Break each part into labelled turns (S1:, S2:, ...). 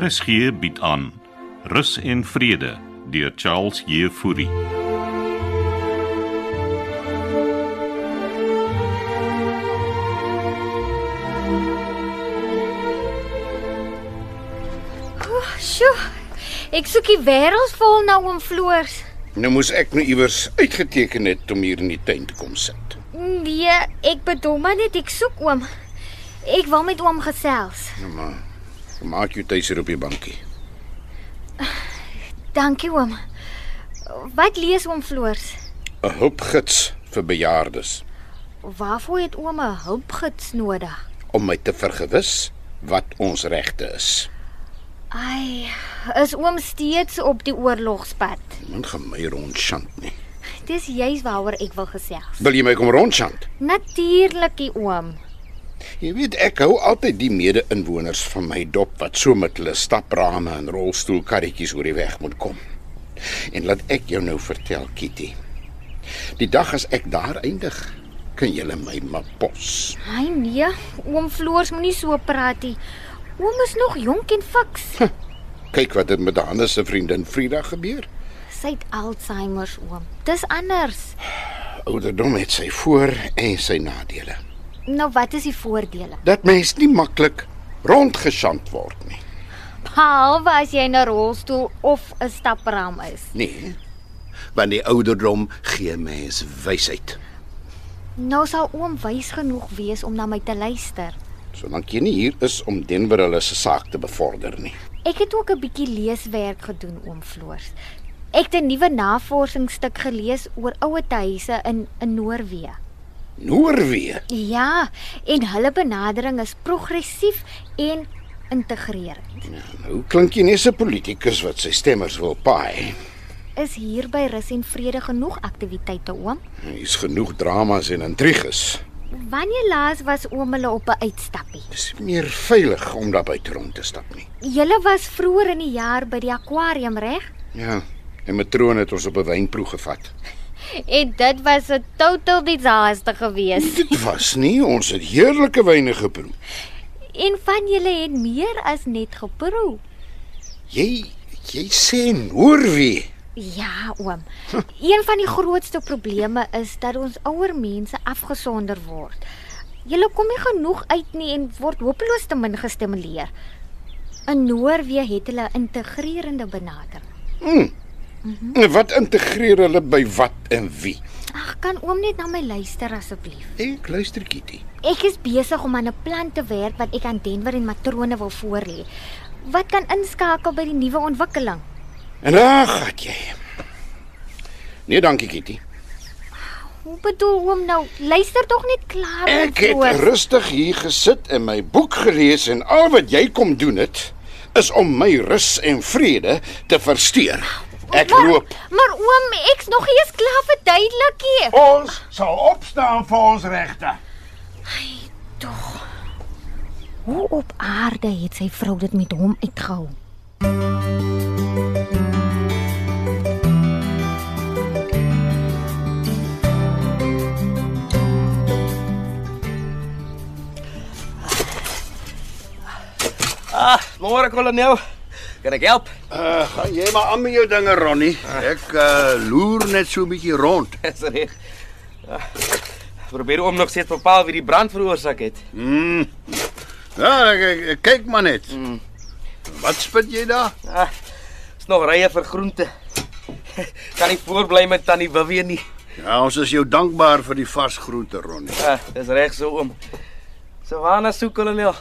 S1: RSG bied aan Rus en Vrede deur Charles Jefouri.
S2: Sjoe. Ek soek die wêreld vol nou om floors.
S3: Nou moes ek nou iewers uitgeteken het om hier in die tuin te kom sit.
S2: Nee, ek bedoel maar net ek soek oom. Ek wil met oom gesels.
S3: Nou maar maak jou tuis hier op die bankie.
S2: Dankie oom. Wat lees oom floors?
S3: 'n Hulpgids vir bejaardes
S2: Waarvoor het oom 'n hulpgids nodig?
S3: om my te vergewis wat ons regte is.
S2: Ai, is oom steeds op die oorlogspad?
S3: Min gemei rondchant nie.
S2: Dis juis waaroor ek wil gesels.
S3: Wil jy my kom rondchant?
S2: Natuurlik, die oom.
S3: Jy weet ek hou altyd die mede-inwoners van my dop wat so met hulle staprame en rolstoelkarretjies oor die weg moet kom. En laat ek jou nou vertel, Kitty. Die dag as ek daar eindig, kan jy my maar pos.
S2: Ai nee, oom floors moenie so praat nie. Oom is nog jonk en fiks.
S3: Kyk wat het met Hannes se vriendin Frida gebeur.
S2: Sy het Alzheimer, oom. Dis anders.
S3: Ouderdom het sy voor en sy nadele.
S2: Nou wat is die voordele?
S3: Dat mens nie maklik rondgeschant word nie.
S2: Behalwe as jy in 'n rolstoel of 'n stapram is.
S3: Nee. Want die ouderdom gee mens wysheid.
S2: Nou sal oom wys genoeg wees om na my te luister.
S3: Solank jy nie hier is om Denver hulle se saak te bevorder nie.
S2: Ek het ook 'n bietjie leeswerk gedoen, oom Floors. Ek het 'n nuwe navorsingsstuk gelees oor ouete huise in in Noorwe.
S3: Noorwe.
S2: Ja, en hulle benadering is progressief en integrerend.
S3: Nou klink jy nie so 'n politikus wat sy stemmers wil paai.
S2: Is hier by rus en vrede genoeg aktiwiteite, oom?
S3: Hier's genoeg dramas en intriges.
S2: Wanneer laas was oom hulle op 'n uitstappie?
S3: Dit is meer veilig om daar buite rond te stap nie.
S2: Julle was vroeër in die jaar by die akwarium, reg?
S3: Ja. En matroon het ons op 'n wynproe gevat.
S2: En dit was 'n totaal disaster geweest.
S3: Dit was nie ons het heerlike wyne geproe.
S2: En van julle het meer as net geproe.
S3: Jy jy sê Noorwe.
S2: Ja, oom. Een van die grootste probleme is dat ons ouer mense afgesonder word. Julle kom nie genoeg uit nie en word hopeloos te min gestimuleer. In Noorwe het hulle 'n integrerende benadering.
S3: En wat integreer hulle by wat en wie?
S2: Ag, kan oom net na my luister asseblief?
S3: Ek luister Kitty.
S2: Ek is besig om aan 'n plan te werk wat ek aan Denver en matrone wil voorlê. Wat kan inskakel by die nuwe ontwikkeling?
S3: En daar gaan jy. Nee, dankie Kitty.
S2: Hoe bedoel oom nou? Luister tog net klaar.
S3: Ek
S2: oom Floors.
S3: het rustig hier gesit en my boek gelees en al wat jy kom doen het is om my rus en vrede te versteur. Ek
S2: Maar-
S3: loop.
S2: Maar oom, ek's nog nie eens klaar verduidelik nie.
S3: Ons sal opstaan vir ons regte.
S2: Hoe op aarde het sy vrou dit met hom uitgehou?
S4: Ah, môre kolonel. Kan ek help?
S5: Uh, gaan jy maar aan met jou dinge Ronnie. Ek uh, loer net so 'n bietjie rond.
S4: Dis reg. Ah, probeer om nog steeds bepaal wie die brand veroorsaak het.
S5: Ja, ek, ek, ek kyk maar net. Wat spit jy daar?
S4: Ah, is nog rye vir groente. kan nie voorbly met tannie Wiwie nie.
S5: Ja, ons is jou dankbaar vir die vars groente Ronnie.
S4: Ah, dis reg so oom. So waarna soek kolonel?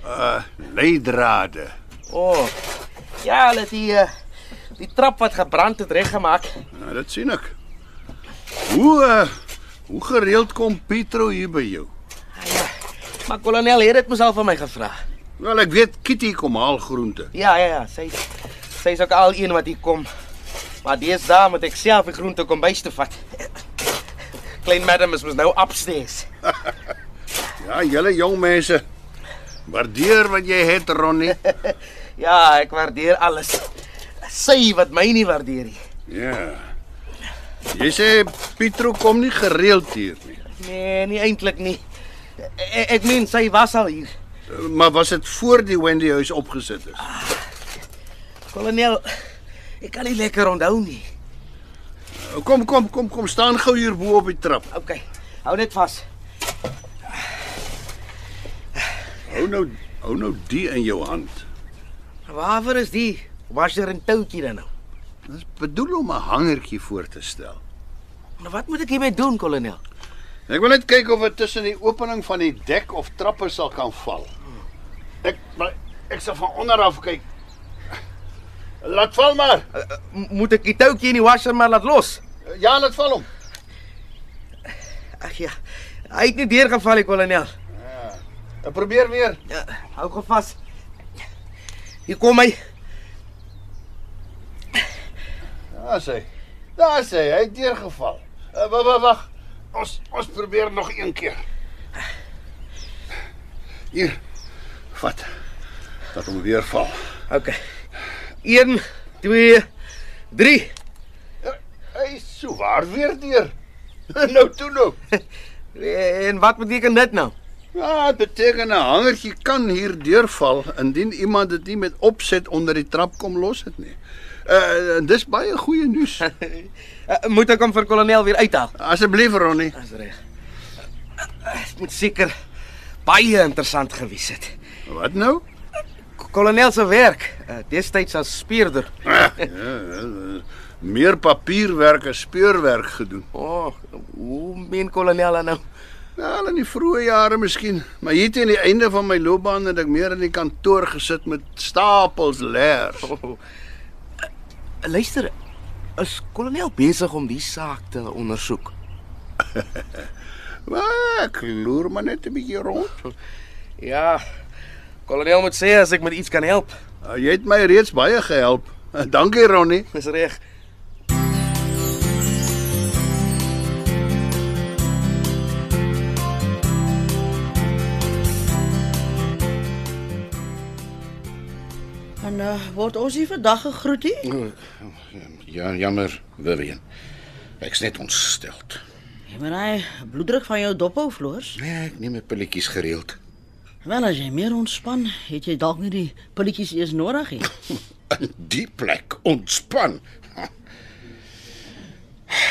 S5: Uh, leidrade.
S4: O. Oh, ja, hulle het die eh, die trap wat gebrand het reggemaak.
S5: Nou, dit sien ek. Hoe uh, hoe gereeld kom Pietro hier by jou?
S4: Maar kolonel het dit mos al van my gevra.
S5: Wel, ek weet Kitty kom haal groente.
S4: Ja, ja, ja, sy sy's ook al een wat hier kom. Maar deesdae moet ek self die groente kom bys te vat. Klein madam is mos nou upstairs.
S5: Ja, julle jong mense. Waardeer wat jy het Ronnie.
S4: Ja, ek waardeer alles. Sy wat my nie waardeer nie.
S5: Ja. Jy sê Pietro kom nie gereeld hier nie.
S4: E, Nee, nie eintlik nie. Ek, ek meen sy was al hier.
S3: Maar was dit voor die Wendy huis opgesit is?
S4: Kolonel, ek kan nie lekker onthou nie.
S3: Nou, Kom kom kom kom staan gou hier bo op die trap.
S4: OK. Hou net vas.
S3: Hou nou hou nou die in jou hand.
S4: Waarvoor is die washer en toutjie dan nou?
S3: Dit is bedoel om 'n hangertjie voor te stel.
S4: Nou wat moet ek hiermee doen, kolonel?
S3: Ek wil net kyk of dit tussen die opening van die dek of trappe sal kan val. Ek maar ek sal van onder af kyk. Laat val maar.
S4: M moet ek die toutjie in die washer maar laat los?
S3: Ja, laat val hom.
S4: Ag ja. Hy het nie deurgeval nie, kolonel.
S3: Ek probeer weer.
S4: Ja, hou gou vas. Hier kom hy.
S3: Daar sê. Daar sê hy het deurgeval. Wag wag wag. Ons ons probeer nog een keer. Hier. Vat. Dat hom weer val.
S4: OK. 1 2 3.
S3: Eh, Hy is so waar weer deur. Nou toe nou.
S4: En wat beteken dit nou?
S3: Ja, dit beteken 'n hangertjie kan hier deurval indien iemand dit nie met opset onder die trap kom los het nie. Uh dis baie goeie nuus.
S4: Eh, Moet ek hom vir kolonel weer uithaal?
S3: Asseblief Ronnie.
S4: Dis reg. Dit moet seker baie interessant gewees het.
S3: Wat nou?
S4: K- Kolonel se werk eh, destyds as speurder.
S3: Ja, eh, meer papierwerk en speurwerk gedoen.
S4: O, oh, hoe meen kolonel dan nou?
S3: Ja, al in die vroeë jare miskien, maar hier teen die einde van my loopbaan het ek meer in die kantoor gesit met stapels leers.
S4: Oh. Luister, is kolonel besig om die saak te ondersoek?
S3: Maar ek loer maar net 'n bietjie rond.
S4: Ja. Kolonel moet sê as ek met iets kan help.
S3: Ah, Jy het my reeds baie gehelp. Dankie Ronnie.
S4: Dis reg.
S6: En uh, word ons hier vandag gegroet hier?
S7: Ja, jammer, Vivian. Ek's net ontsteld.
S6: Jy moet daai bloeddruk van jou dop hou floors.
S7: Nee, ek neem my pilletjies gereeld.
S6: Wel as jy meer ontspan, het jy dalk nie die pilletjies eers nodig nie.
S7: In die plek ontspan.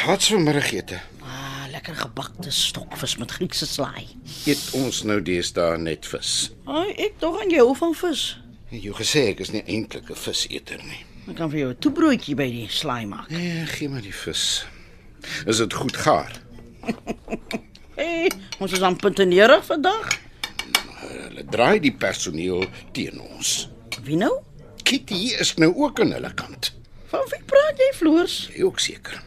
S7: Wat se middagete?
S6: Ah, lekker gebakte stokvis met Griekse slaai.
S7: Eet ons nou deesdae net vis?
S6: Ai, ek tog aan jou hou van vis.
S7: Jy gesê ek is nie eintlik 'n viseter nie.
S6: Ek kan vir jou 'n toebroodjie by die slaai maak.
S7: Nee, gee maar die vis. Is dit goed gaar?
S6: Hey, ons is aan puntenerig vandag.
S7: Hulle draai die personeel teen ons.
S6: Wie nou?
S7: Kitty is nou ook aan hulle kant.
S6: Van wie praat jy floors?
S7: Jy ook seker.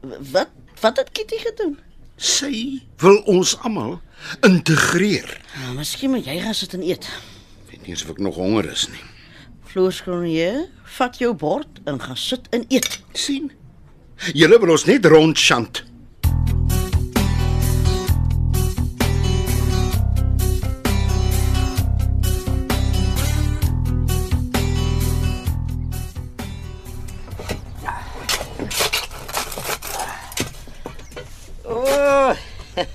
S6: W- Wat wat het Kitty gedoen?
S7: Sy wil ons almal integreer.
S6: Nou, miskien moet jy gaan sit en eet.
S7: Ek weet nie eens of ek nog honger is nie.
S6: Floors Cronje, vat jou bord en gaan sit en eet.
S7: sien? Julle wil ons net rondchant.
S4: O. Oh,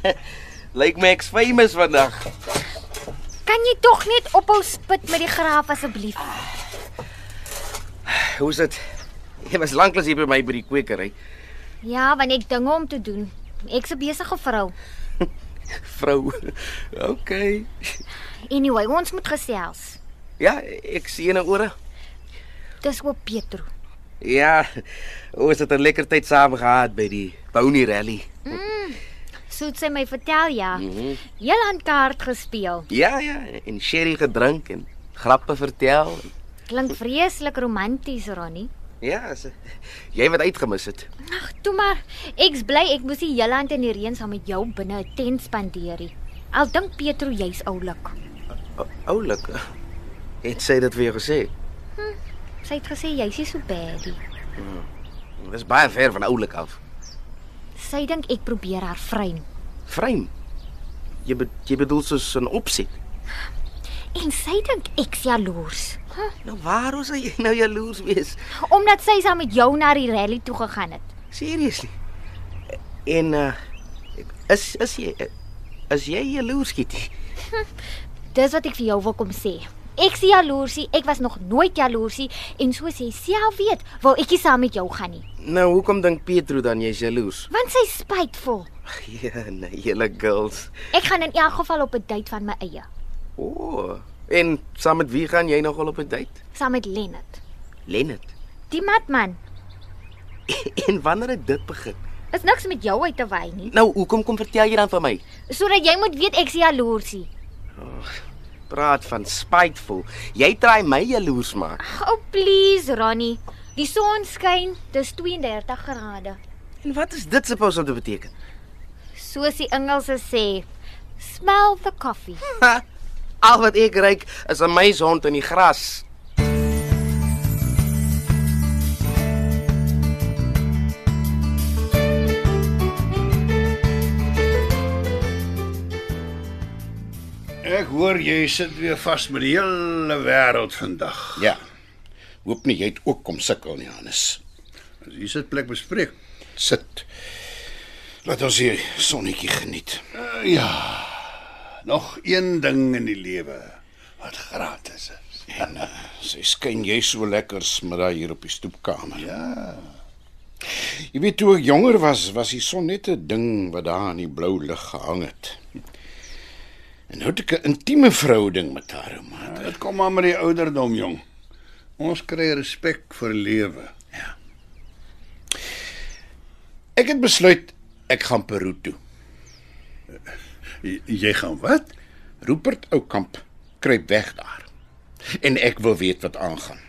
S4: Lyk my ek's famous vandag.
S2: Kan jy tog net ophou spit met die graaf asseblief?
S4: Hoe's dit? Jy was lanklaas hier by my by die kwekery.
S2: Ja, want ek dinge om te doen. Ek's 'n besige vrou.
S4: Vrou. OK.
S2: Anyway, ons moet gesels.
S4: Ja, ek sien in ore.
S2: Dis oop Petro.
S4: Ja. Ons het 'n lekker tyd saam gehad by die Bonnie Rally.
S2: So het sy my vertel ja. Heel aan kaart gespeel.
S4: Ja, ja, en sherry gedrink en grappe vertel.
S2: Klink vreeslik romanties, Ronnie.
S4: Ja, so, jy wat uitgemis het.
S2: Ag, toe maar. Ek's bly ek moes die hele aand in die reën saam met jou binne 'n tent spandeer. nie. Al dink Petro jy's oulik.
S4: O- Oulik. Het sy dit vir jou gesê?
S2: Sy het gesê jy's nie so bad nie.
S4: Dis baie ver van oulik af.
S2: Sy dink ek probeer haar vrein.
S4: Vreem. Jy be, jy bedoel soos 'n opset.
S2: En sy dink ek's jaloers. Huh?
S4: Nou waarom sou jy nou jaloers wees?
S2: Omdat sy saam met jou na die rally toe gegaan het.
S4: Seriously. eh, En uh is is jy is jy jaloers skiet?
S2: Dis wat ek vir jou wil kom sê. Ek sien jaloersie, ek was nog nooit jaloersie en soos jy self weet, wou ek nie saam met jou gaan nie,
S4: Nou hoekom dink Pietro dan jy's jaloers?
S2: want sy is spytvol.
S4: Ja, nee, julle girls.
S2: Ek gaan in elk geval op 'n date van my eie,
S4: O. Oh, en saam met wie gaan jy nogal op 'n date?
S2: saam met Lennard.
S4: Lennet.
S2: Die matman
S4: En wanneer het dit begin?
S2: is niks met jou uit te wy nie,
S4: Nou, hoekom kom vertel jy dan van my?
S2: sodat jy moet weet ek sien jaloersie.
S4: Praat van spiteful. Jy try my jaloers maak.
S2: Oh please, Ronnie. Die son skyn, dis 32 grade.
S4: En wat is dit supposed om te beteken?
S2: Soos die Engelse sê, smell the coffee.
S4: Ha, al wat ek ryk is 'n meishond in die gras.
S5: Ek hoor jy sit weer vas met die hele wêreld vandag.
S3: Ja. Hoop nie jy het ook kom sukkel nie, Hannes.
S5: Hier sit plek bespreek.
S3: Sit. Laat ons hier sonnetjie geniet.
S5: Uh, ja. Nog een ding in die lewe wat gratis is.
S3: En uh, sy skyn jy so lekker smiddag hier op die stoepkamer. Ja. Jy weet toe ek jonger was, was die son net 'n ding wat daar in die blou lug gehang het. En nou het ek 'n intieme verhouding met haar, man.
S5: Dit kom maar met die ouderdom, jong. Ons kry respek vir lewe.
S3: Ek het besluit ek gaan Peru toe.
S5: J- Jy gaan wat?
S3: Rupert Oukamp kruip weg daar. En ek wil weet wat aangaan.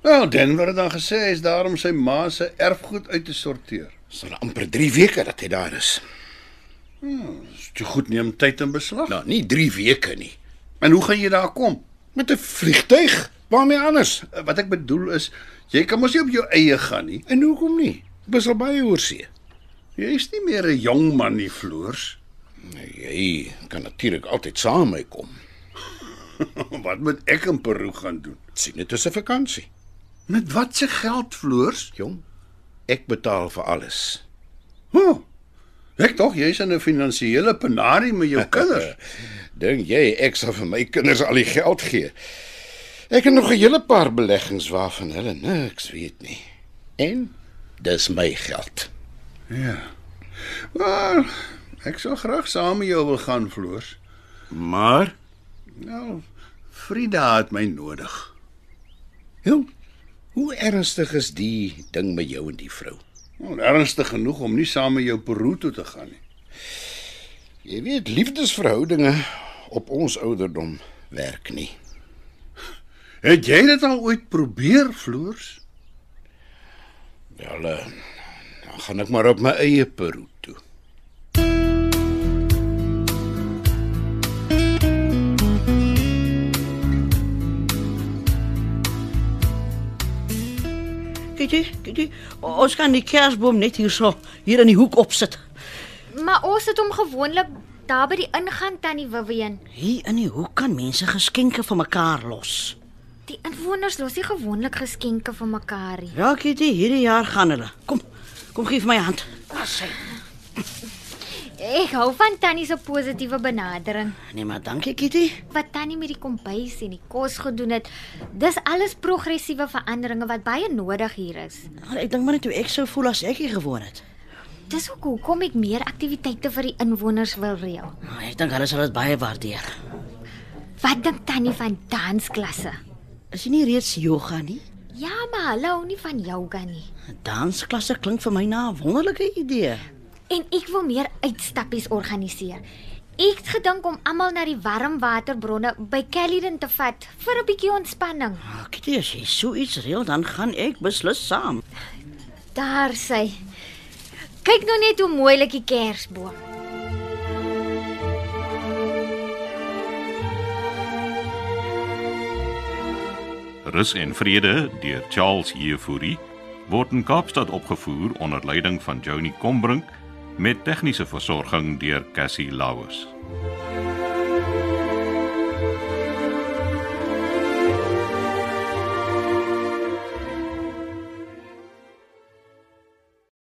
S5: Wel, Denver het dan gesê hy is daar om sy ma se erfgoed uit te sorteer.
S3: Dis al amper 3 weke dat hy daar is.
S5: Dis te goed neem tyd in beslag.
S3: Nou, nie 3 weke nie.
S5: En hoe gaan jy daar kom?
S3: Met 'n vliegtyg. Waarmee anders?
S5: Eh, Wat ek bedoel is, jy kan mos nie op jou eie gaan nie.
S3: En hoekom nie? Ek was al baie oor see.
S5: Jy is nie meer 'n jong man nie, Floors.
S3: Nou, Jy kan natuurlik altyd saam met my kom.
S5: Wat moet ek in Peru gaan doen?
S3: Sien dit is 'n vakansie.
S5: Met wat se geld, Floors?
S3: Jong, ek betaal vir alles.
S5: Huh. Ek dink jy's in 'n finansiële penarie met jou kinders.
S3: Dink jy ek sal vir my kinders al die geld gee? Ek het nog 'n hele paar beleggings waarvan hulle niks weet nie. En dis my geld.
S5: ja. Maar ek sou graag saam met jou wil gaan, Floors.
S3: Maar,
S5: Nou, Frida het my nodig.
S3: jong, hoe ernstig is die ding met jou en die vrou?
S5: Nou, ernstig genoeg om nie saam met jou Peru toe te gaan nie.
S3: Jy weet, liefdesverhoudinge op ons ouderdom werk nie.
S5: Het jy dit al ooit probeer, Floors?
S3: Wel, eh, dan gaan ek maar op my eie Peru toe.
S6: Kyk jy, kyk jy, ons kan die kersboom net hierso hier in die hoek opsit.
S2: Maar ons het hom gewoonlik daar by die ingang tannie Vivian.
S6: Hier in die hoek kan mense geskenke vir mekaar los.
S2: Die inwoners los nie gewoonlik geskenke vir mekaar nie.
S6: Ja, Kitty, hierdie jaar gaan hulle. Kom. Kom gee vir my 'n hand.
S2: Ek hou van tannie se positiewe benadering.
S6: Nee, maar dankie Kitty.
S2: Wat tannie met die kombuis en die kos gedoen het, dis alles progressiewe veranderinge wat baie nodig hier is.
S6: Maar ek dink maar net hoe ek sou voel as ek hier gewoon het.
S2: Dis ook hoekom ek meer aktiwiteite vir die inwoners wil reël.
S6: Maar ek dink hulle sal dit baie waardeer.
S2: Wat dink tannie van dansklasse?
S6: Is dit nie reeds yoga nie?
S2: Ja, maar hulle hou nie van yoga nie.
S6: 'n Dansklasse klink vir my na 'n wonderlike idee.
S2: En ek wil meer uitstappies organiseer. Ek het gedink om almal na die warmwaterbronne by Caledon te vat vir 'n bietjie ontspanning.
S6: Maar Kitty, as jy so iets reël, dan gaan ek beslis saam.
S2: Daar sy. Kyk nou net hoe mooi lyk die kersboom.
S1: Rus en Vrede deur Charles Jefouri word in Kaapstad opgevoer onder leiding van Johnny Combrink met tegniese versorging deur Cassie Lauers.